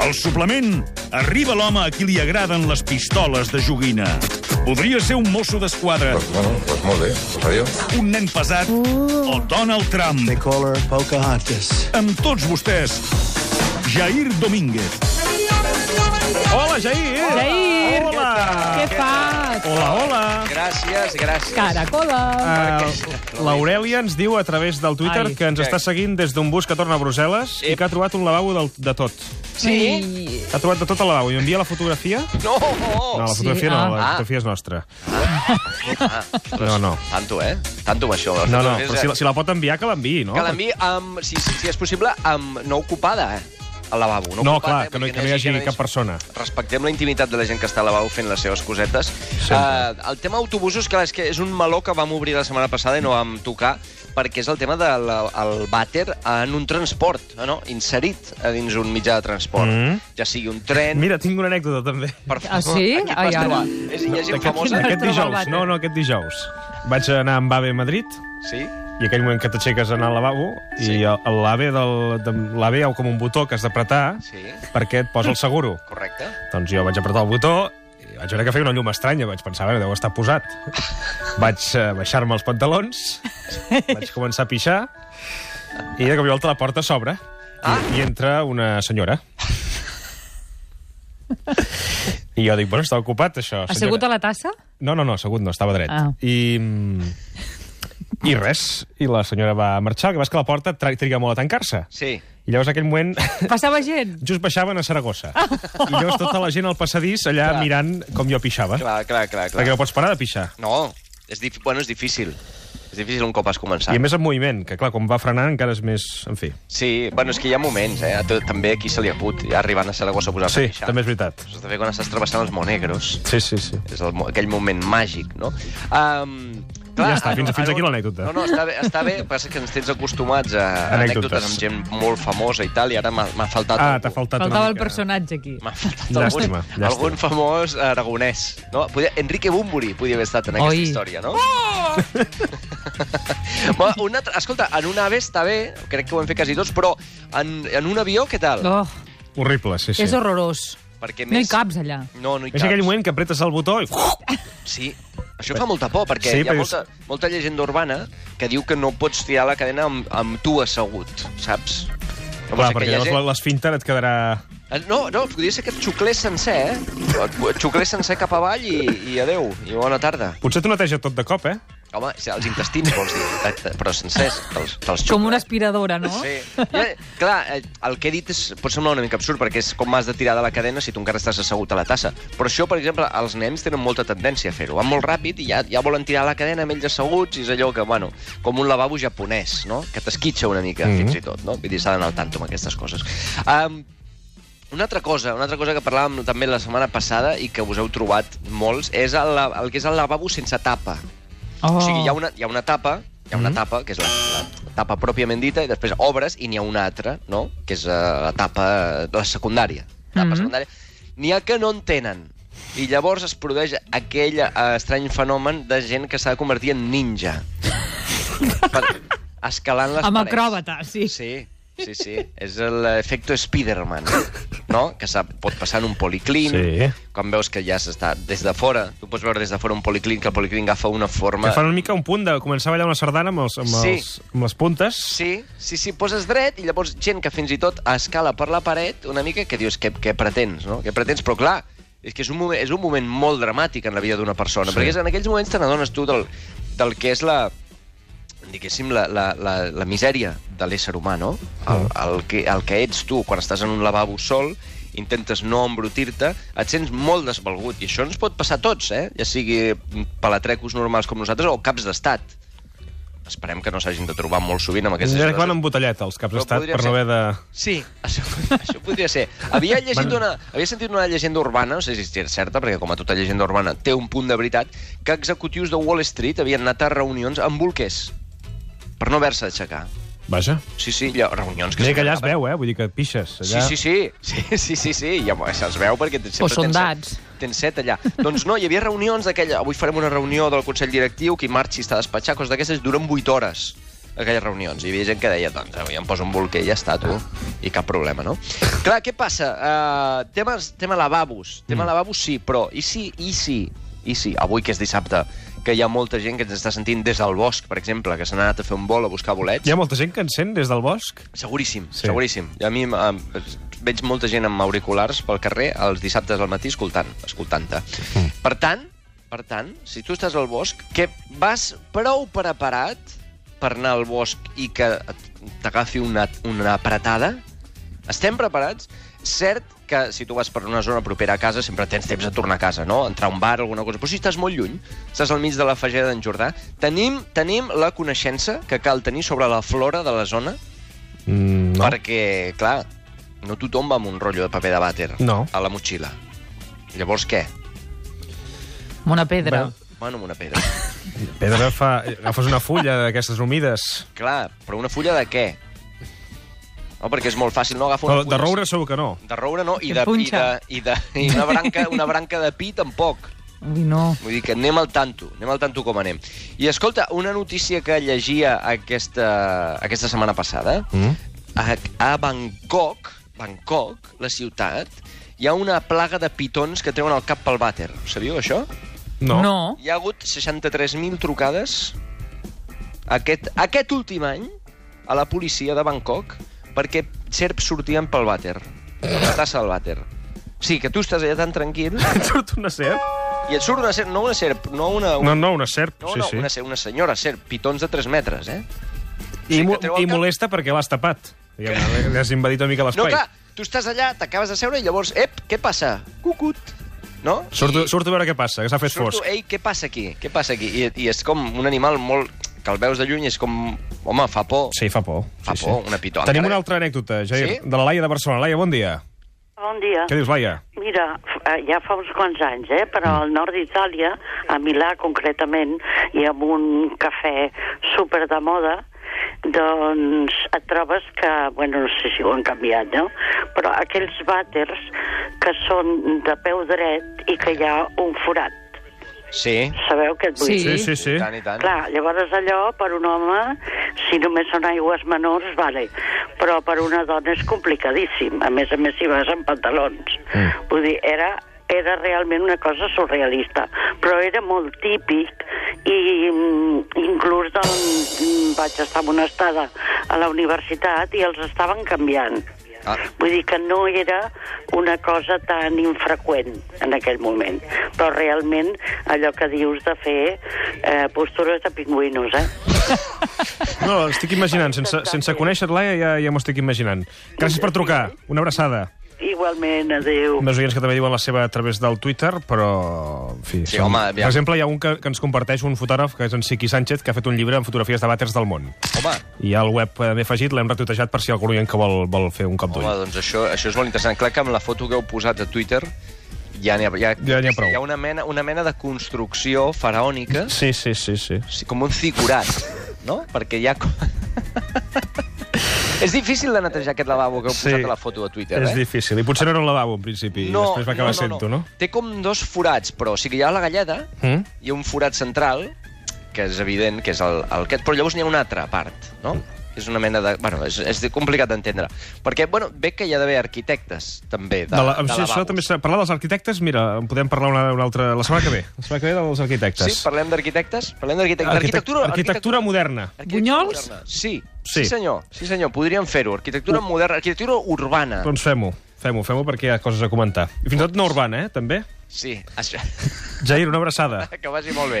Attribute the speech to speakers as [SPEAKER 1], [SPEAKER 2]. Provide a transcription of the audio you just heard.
[SPEAKER 1] Al suplement, arriba l'home a qui li agraden les pistoles de joguina. Podria ser un mosso d'esquadra,
[SPEAKER 2] Pues bueno, pues molt bé. Pues adiós.
[SPEAKER 1] un nen pesat o Donald Trump.
[SPEAKER 3] They call her Pocahontas.
[SPEAKER 1] Amb tots vostès, Jair Domínguez. Hola, Jair!
[SPEAKER 4] Jair!
[SPEAKER 1] Hola!
[SPEAKER 4] Què fas?
[SPEAKER 1] Hola, hola!
[SPEAKER 5] Gràcies, gràcies.
[SPEAKER 4] Caracola!
[SPEAKER 6] Uh, L'Aurelia ens diu a través del Twitter
[SPEAKER 4] Ai.
[SPEAKER 6] Ai. que ens està seguint des d'un bus que torna a Brussel·les i que ha trobat un lavabo del, de tot.
[SPEAKER 4] Sí?
[SPEAKER 6] Ha trobat de tot el lavabo. I envia la fotografia?
[SPEAKER 5] No!
[SPEAKER 6] No, la
[SPEAKER 4] Sí,
[SPEAKER 6] fotografia no,
[SPEAKER 4] ah.
[SPEAKER 6] la
[SPEAKER 5] Ah.
[SPEAKER 6] fotografia és nostra.
[SPEAKER 5] Ah,
[SPEAKER 6] No, no.
[SPEAKER 5] Tanto, eh? Tanto amb això.
[SPEAKER 6] No, no, però si la, si la pot enviar, que l'enviï, no?
[SPEAKER 5] Que l'enviï amb... Si, si, si és possible, amb no ocupada, eh? Al lavabo. No,
[SPEAKER 6] No,
[SPEAKER 5] ocupada,
[SPEAKER 6] clar,
[SPEAKER 5] eh?
[SPEAKER 6] que no,
[SPEAKER 5] Vull
[SPEAKER 6] que no hi hagi
[SPEAKER 5] gent a
[SPEAKER 6] cap
[SPEAKER 5] dins.
[SPEAKER 6] persona.
[SPEAKER 5] Respectem la intimitat de la gent que està al lavabo fent les seves cosetes. Uh, el tema autobusos, clar, és que és un meló que vam obrir la setmana passada i no vam tocar, perquè és el tema del el vàter en un transport, eh, no? inserit a dins un mitjà de transport.
[SPEAKER 6] Mhm.
[SPEAKER 5] Ja sigui un tren...
[SPEAKER 6] Mira, tinc una anècdota, també.
[SPEAKER 5] Per
[SPEAKER 4] Ah, sí?
[SPEAKER 5] Aquí et
[SPEAKER 4] Ai,
[SPEAKER 5] vas
[SPEAKER 4] ara.
[SPEAKER 5] trobar. És, hi ha gent famosa...
[SPEAKER 4] quina-
[SPEAKER 6] Aquest
[SPEAKER 4] Trobar el
[SPEAKER 6] dijous,
[SPEAKER 4] vàter.
[SPEAKER 6] no, no, aquest dijous. Vaig anar amb AVE a Madrid,
[SPEAKER 5] Sí?
[SPEAKER 6] i aquell moment que t'aixeques a anar al lavabo sí.
[SPEAKER 5] Sí.
[SPEAKER 6] i el- l'AVE del- de- l'AVE hi ha com un botó que has d'apretar
[SPEAKER 5] Sí.
[SPEAKER 6] perquè et posa el seguro.
[SPEAKER 5] Correcte.
[SPEAKER 6] Doncs jo vaig apretar el botó i vaig veure que feia una llum estranya. Vaig pensar, a veure, deu estar posat. vaig eh, baixar-me els pantalons, vaig començar a pixar i de cop i volta la porta s'obre ah. i, i entra una senyora. I jo dic, bueno, està ocupat, això.
[SPEAKER 4] Ha sigut a la tassa?
[SPEAKER 6] No, no, no, assegut no, estava dret.
[SPEAKER 4] Ah.
[SPEAKER 6] I, mm, I res, i la senyora va marxar, el que va és que la porta tra- triga molt a tancar-se.
[SPEAKER 5] Sí.
[SPEAKER 6] I llavors, en aquell moment,
[SPEAKER 4] Passava gent?
[SPEAKER 6] just baixaven a Saragossa. I llavors tota la gent al passadís allà
[SPEAKER 5] Clar.
[SPEAKER 6] mirant com jo pixava.
[SPEAKER 5] Clar, clar, clar. clar.
[SPEAKER 6] Perquè no pots parar de pixar.
[SPEAKER 5] No, és, dif... bueno, és difícil. És difícil un cop has començat.
[SPEAKER 6] I a més en moviment, que clar, quan va frenar encara és més... En fi.
[SPEAKER 5] Sí, bueno, és que hi ha moments, eh? A tot, també aquí se li acut, ja arribant a Saragossa a posar
[SPEAKER 6] Sí, també és veritat.
[SPEAKER 5] Això també quan estàs travessant els Monegros.
[SPEAKER 6] Sí, sí, sí.
[SPEAKER 5] És el, mo- aquell moment màgic, no? Um, clar,
[SPEAKER 6] Ja està,
[SPEAKER 5] en-
[SPEAKER 6] fins-
[SPEAKER 5] en
[SPEAKER 6] fins
[SPEAKER 5] un-
[SPEAKER 6] aquí l'anècdota.
[SPEAKER 5] No, no, està bé, està bé, passa que ens tens acostumats a
[SPEAKER 6] Anècdotes.
[SPEAKER 5] anècdotes amb gent molt famosa i tal, i ara m'ha m'ha faltat
[SPEAKER 6] Ah,
[SPEAKER 5] algú.
[SPEAKER 6] t'ha faltat
[SPEAKER 4] Faltava
[SPEAKER 6] una
[SPEAKER 4] el
[SPEAKER 6] mica.
[SPEAKER 4] personatge aquí.
[SPEAKER 5] M'ha faltat
[SPEAKER 6] Llàstima,
[SPEAKER 5] algun,
[SPEAKER 6] llàstima.
[SPEAKER 5] algun famós aragonès. No? Podia, Enrique Bumburi podia haver estat en aquesta
[SPEAKER 4] Oi.
[SPEAKER 5] història, no? Oh! un altre, escolta, en un ave està bé, crec que ho hem fet quasi tots, però en, en un avió què tal?
[SPEAKER 4] Oh,
[SPEAKER 6] Horrible, sí, sí.
[SPEAKER 4] és horrorós.
[SPEAKER 5] Perquè
[SPEAKER 4] No hi
[SPEAKER 5] més-
[SPEAKER 4] caps allà.
[SPEAKER 5] No, no hi
[SPEAKER 6] És aquell moment que apretes el botó i...
[SPEAKER 5] Sí, això fa molta por, perquè
[SPEAKER 6] Sí,
[SPEAKER 5] sí, hi ha
[SPEAKER 6] perquè-
[SPEAKER 5] molta, molta llegenda urbana que diu que no pots tirar la cadena amb, amb tu assegut, saps?
[SPEAKER 6] Clar,
[SPEAKER 5] Llavors,
[SPEAKER 6] perquè
[SPEAKER 5] aquella
[SPEAKER 6] llavors la- l'esfinter et quedarà...
[SPEAKER 5] Ah, No, no, podria ser que et xuclés sencer, eh? Et xuclés sencer cap avall i, i adeu, i bona tarda.
[SPEAKER 6] Potser t'ho neteja tot de cop, eh?
[SPEAKER 5] Home, si els intestins, vols dir, eh, però sencers, te'ls, te'ls xucla.
[SPEAKER 4] Com una aspiradora, no?
[SPEAKER 5] Sí. Ja, clar, eh, el que he dit és, pot semblar una mica absurd, perquè és com has de tirar de la cadena si tu encara estàs assegut a la tassa. Però això, per exemple, els nens tenen molta tendència a fer-ho. Van molt ràpid i ja, ja volen tirar la cadena amb ells asseguts i és allò que, bueno, com un lavabo japonès, no? Que t'esquitxa una mica, mm
[SPEAKER 6] Mhm.
[SPEAKER 5] -hmm. fins i tot, no? Vull dir, s'ha d'anar al tanto amb aquestes coses. Um, una altra cosa, una altra cosa que parlàvem també la setmana passada i que us heu trobat molts és el, la- el que és el lavabo sense tapa.
[SPEAKER 4] Oh. Mm-hmm.
[SPEAKER 5] O sigui, hi ha una, hi ha una tapa, hi ha una tapa, que és la, la tapa pròpiament dita, i després obres i n'hi ha una altra, no?, que és eh, la tapa de la secundària. Tapa
[SPEAKER 4] Mhm.
[SPEAKER 5] secundària. N'hi ha que no en tenen. I llavors es produeix aquell eh, estrany fenomen de gent que s'ha de convertir en ninja. per, escalant les
[SPEAKER 4] Amb
[SPEAKER 5] parets.
[SPEAKER 4] acròbata, sí.
[SPEAKER 5] Sí, sí, sí. És l'efecte Spiderman, no? Que sap, pot passar en un policlín,
[SPEAKER 6] Sí.
[SPEAKER 5] quan veus que ja s'està des de fora. Tu pots veure des de fora un policlín, que el policlín agafa una forma...
[SPEAKER 6] Que fan una mica un punt de començar a ballar una sardana amb, els, amb,
[SPEAKER 5] Sí.
[SPEAKER 6] els, amb les puntes.
[SPEAKER 5] Sí, sí, sí, poses dret i llavors gent que fins i tot escala per la paret una mica que dius què, què pretens, no? Què pretens? Però clar, és que és un moment, és un moment molt dramàtic en la vida d'una persona,
[SPEAKER 6] Sí.
[SPEAKER 5] sí. perquè és en aquells moments te n'adones tu del, del que és la diguéssim, la, la, la, la misèria de l'ésser humà, no? El, el, que, el que ets tu quan estàs en un lavabo sol, intentes no embrutir-te, et sents molt desvalgut. I això ens pot passar a tots, eh? Ja sigui palatrecos normals com nosaltres o caps d'estat. Esperem que no s'hagin de trobar molt sovint amb
[SPEAKER 6] És
[SPEAKER 5] aquestes...
[SPEAKER 6] que van
[SPEAKER 5] situacions.
[SPEAKER 6] amb botelleta, els caps
[SPEAKER 5] Però
[SPEAKER 6] d'estat,
[SPEAKER 5] podria
[SPEAKER 6] per no
[SPEAKER 5] ser-
[SPEAKER 6] haver de...
[SPEAKER 5] Sí, això, això podria ser. Havia llegit una, havia sentit una llegenda urbana, no sé si és certa, perquè com a tota llegenda urbana té un punt de veritat, que executius de Wall Street havien anat a reunions amb bolquers per no haver-se d'aixecar.
[SPEAKER 6] Vaja.
[SPEAKER 5] Sí, sí, allò, reunions que...
[SPEAKER 6] Mira que allà es veu, eh? Vull dir que pixes.
[SPEAKER 5] Sí,
[SPEAKER 6] Allà...
[SPEAKER 5] sí, sí, sí, sí, sí, sí. I, home, se'ls veu perquè sempre
[SPEAKER 4] O
[SPEAKER 5] tens-
[SPEAKER 4] soldats.
[SPEAKER 5] Tens set allà. doncs no, hi havia reunions d'aquella... Avui farem una reunió del Consell Directiu, qui marxi està a despatxar, coses d'aquestes, duren 8 hores. aquelles reunions. Hi havia gent que deia, doncs, avui em poso un bolquer i ja està, tu. I cap problema, no? Clar, què passa? Uh, temes, tema lavabos. Tema lavabos sí, però i si, i si, i si, avui que és dissabte, que hi ha molta gent que ens està sentint des del bosc, per exemple, que s'han anat a fer un vol a buscar bolets.
[SPEAKER 6] Hi ha molta gent que encén des del bosc?
[SPEAKER 5] Seguríssim,
[SPEAKER 6] Sí.
[SPEAKER 5] sí. seguríssim. I a mi em- veig molta gent amb auriculars pel carrer els dissabtes al matí escoltant, escoltant-te. Per tant, per tant, si tu estàs al bosc, que vas prou preparat per anar al bosc i que et- t'agafi una, una apretada, estem preparats? Cert que si tu vas per una zona propera a casa sempre tens temps de tornar a casa, no? Entrar a un bar, alguna cosa. Però si estàs molt lluny, estàs al mig de la fageda d'en Jordà, tenim, tenim la coneixença que cal tenir sobre la flora de la zona
[SPEAKER 6] Mm,
[SPEAKER 5] no. perquè, clar, no tothom va amb un rotllo de paper de vàter
[SPEAKER 6] No.
[SPEAKER 5] a la motxilla. Llavors què?
[SPEAKER 4] Amb una pedra.
[SPEAKER 6] Bueno.
[SPEAKER 5] Bueno, amb una pedra.
[SPEAKER 6] Pedra fa... Agafes una fulla d'aquestes humides.
[SPEAKER 5] clar, però una fulla de què? No, perquè és molt fàcil, no? Agafa
[SPEAKER 6] Però
[SPEAKER 5] una
[SPEAKER 6] de
[SPEAKER 5] fulla...
[SPEAKER 6] roure segur que no.
[SPEAKER 5] De roure no, i,
[SPEAKER 4] Et
[SPEAKER 5] de, i, de,
[SPEAKER 4] punxa.
[SPEAKER 5] i, de, i una, branca, una branca de pi tampoc.
[SPEAKER 4] Ui, no.
[SPEAKER 5] Vull dir que anem al tanto, anem al tanto com anem. I escolta, una notícia que llegia aquesta, aquesta setmana passada. Mm? A, a Bangkok, Bangkok, la ciutat, hi ha una plaga de pitons que treuen el cap pel vàter. Ho sabíeu, això?
[SPEAKER 6] No.
[SPEAKER 4] no.
[SPEAKER 5] Hi ha hagut 63.000 trucades aquest, aquest últim any a la policia de Bangkok perquè serps sortien pel vàter, per la tassa del vàter. Sí, que tu estàs allà tan tranquil
[SPEAKER 6] Surt una serp?
[SPEAKER 5] i et surt una serp, no una serp, no una...
[SPEAKER 6] No, no, una serp,
[SPEAKER 5] No,
[SPEAKER 6] sí,
[SPEAKER 5] no,
[SPEAKER 6] sí.
[SPEAKER 5] Una, se- una senyora, serp, pitons de 3 metres, eh?
[SPEAKER 6] I,
[SPEAKER 5] que
[SPEAKER 6] mo
[SPEAKER 5] treu el
[SPEAKER 6] i
[SPEAKER 5] cap.
[SPEAKER 6] molesta perquè l'has tapat. Diguem-ne, L'has invadit una mica
[SPEAKER 5] No,
[SPEAKER 6] l'espai.
[SPEAKER 5] clar, tu estàs allà, t'acabes de seure i llavors, ep, què passa? Cucut, no?
[SPEAKER 6] Surto, surto a veure què passa, que s'ha fet
[SPEAKER 5] Surto,
[SPEAKER 6] fosc.
[SPEAKER 5] ei, què passa aquí? Què passa aquí? I, I és com un animal molt... que el veus de lluny, és com... Home, fa por.
[SPEAKER 6] Sí, fa por.
[SPEAKER 5] Fa
[SPEAKER 6] sí,
[SPEAKER 5] por,
[SPEAKER 6] sí.
[SPEAKER 5] una pitó.
[SPEAKER 6] Tenim
[SPEAKER 5] Encara-
[SPEAKER 6] una altra anècdota, Jair,
[SPEAKER 5] Sí? Ah.
[SPEAKER 6] de la Laia de Barcelona. Laia, bon dia.
[SPEAKER 7] Bon dia.
[SPEAKER 6] Què dius, Laia?
[SPEAKER 7] Mira, f- eh, ja fa uns quants anys, eh, però
[SPEAKER 6] Mm.
[SPEAKER 7] al nord d'Itàlia, a Milà concretament, i amb un cafè super de moda, doncs et trobes que, bueno, no sé si ho han canviat, no? Però aquells vàters que són de peu dret i que hi ha un forat.
[SPEAKER 5] Sí.
[SPEAKER 7] Sabeu què et vull
[SPEAKER 4] Sí.
[SPEAKER 7] dir?
[SPEAKER 6] Sí, sí, sí.
[SPEAKER 5] I tant, i tant.
[SPEAKER 7] Clar, llavors allò, per un home, si només són aigües menors, vale. Però per una dona és complicadíssim. A més a més, si vas amb pantalons. Mm. Vull dir, era era realment una cosa surrealista, però era molt típic i mm, inclús del, mm, vaig estar en una estada a la universitat i els estaven canviant.
[SPEAKER 5] Ah.
[SPEAKER 7] Vull dir que no era una cosa tan infreqüent en aquell moment. Però realment allò que dius de fer eh, postures de pingüinos, eh?
[SPEAKER 6] No, estic imaginant, sense, sense conèixer Laia ja, ja m'ho estic imaginant. Gràcies per trucar, una abraçada.
[SPEAKER 7] Igualment, adéu.
[SPEAKER 6] Més oients que també diuen la seva a través del Twitter, però... En fi,
[SPEAKER 5] Sí, home, aviam.
[SPEAKER 6] Per exemple, hi ha un que, que ens comparteix un fotògraf, que és en Siqui Sánchez, que ha fet un llibre amb fotografies de vàters del món.
[SPEAKER 5] Home,
[SPEAKER 6] I al web eh, m'he afegit, l'hem retuitejat per si algun oient que vol, vol fer un cop d'ull.
[SPEAKER 5] home doncs això, això és molt interessant. Clar que amb la foto que heu posat a Twitter ja n'hi ha, ja,
[SPEAKER 6] Ja n'hi ha prou.
[SPEAKER 5] Hi ha una mena, una mena de construcció faraònica,
[SPEAKER 6] Sí, sí, sí, sí.
[SPEAKER 5] sí, com un figurat, no? Perquè hi ha... com- és difícil de netejar aquest lavabo que heu posat a la foto a Twitter,
[SPEAKER 6] és
[SPEAKER 5] eh?
[SPEAKER 6] difícil. I potser no era un lavabo, en principi. i després va acabar
[SPEAKER 5] no,
[SPEAKER 6] sent-ho, no?
[SPEAKER 5] Té com dos forats, però o sigui, hi ha la galleda,
[SPEAKER 6] Mm?
[SPEAKER 5] hi ha un forat central, que és evident que és el, el aquest, però llavors n'hi ha una altra part, no?
[SPEAKER 6] Mm.
[SPEAKER 5] És una mena de... Bueno, és, és complicat d'entendre. Perquè, bueno, ve que hi ha d'haver arquitectes, també, de,
[SPEAKER 6] De la,
[SPEAKER 5] de
[SPEAKER 6] sí, això
[SPEAKER 5] lavabos.
[SPEAKER 6] també s'ha... Parlar dels arquitectes, mira, en podem parlar una, una altra... La setmana que ve. La setmana que ve dels arquitectes.
[SPEAKER 5] Sí, parlem d'arquitectes? Parlem d'arquitectes.
[SPEAKER 6] arquitectura, arquitectura moderna.
[SPEAKER 4] Bunyols?
[SPEAKER 5] moderna. Sí,
[SPEAKER 6] Sí.
[SPEAKER 5] sí, senyor. Sí, senyor, podríem fer-ho. Arquitectura moderna, arquitectura urbana.
[SPEAKER 6] Doncs fem-ho. Fem-ho, fem-ho perquè hi ha coses a comentar. I fins i tot no urbana, eh, també.
[SPEAKER 5] Sí, això...
[SPEAKER 6] Jair, una abraçada.
[SPEAKER 5] que vagi molt bé.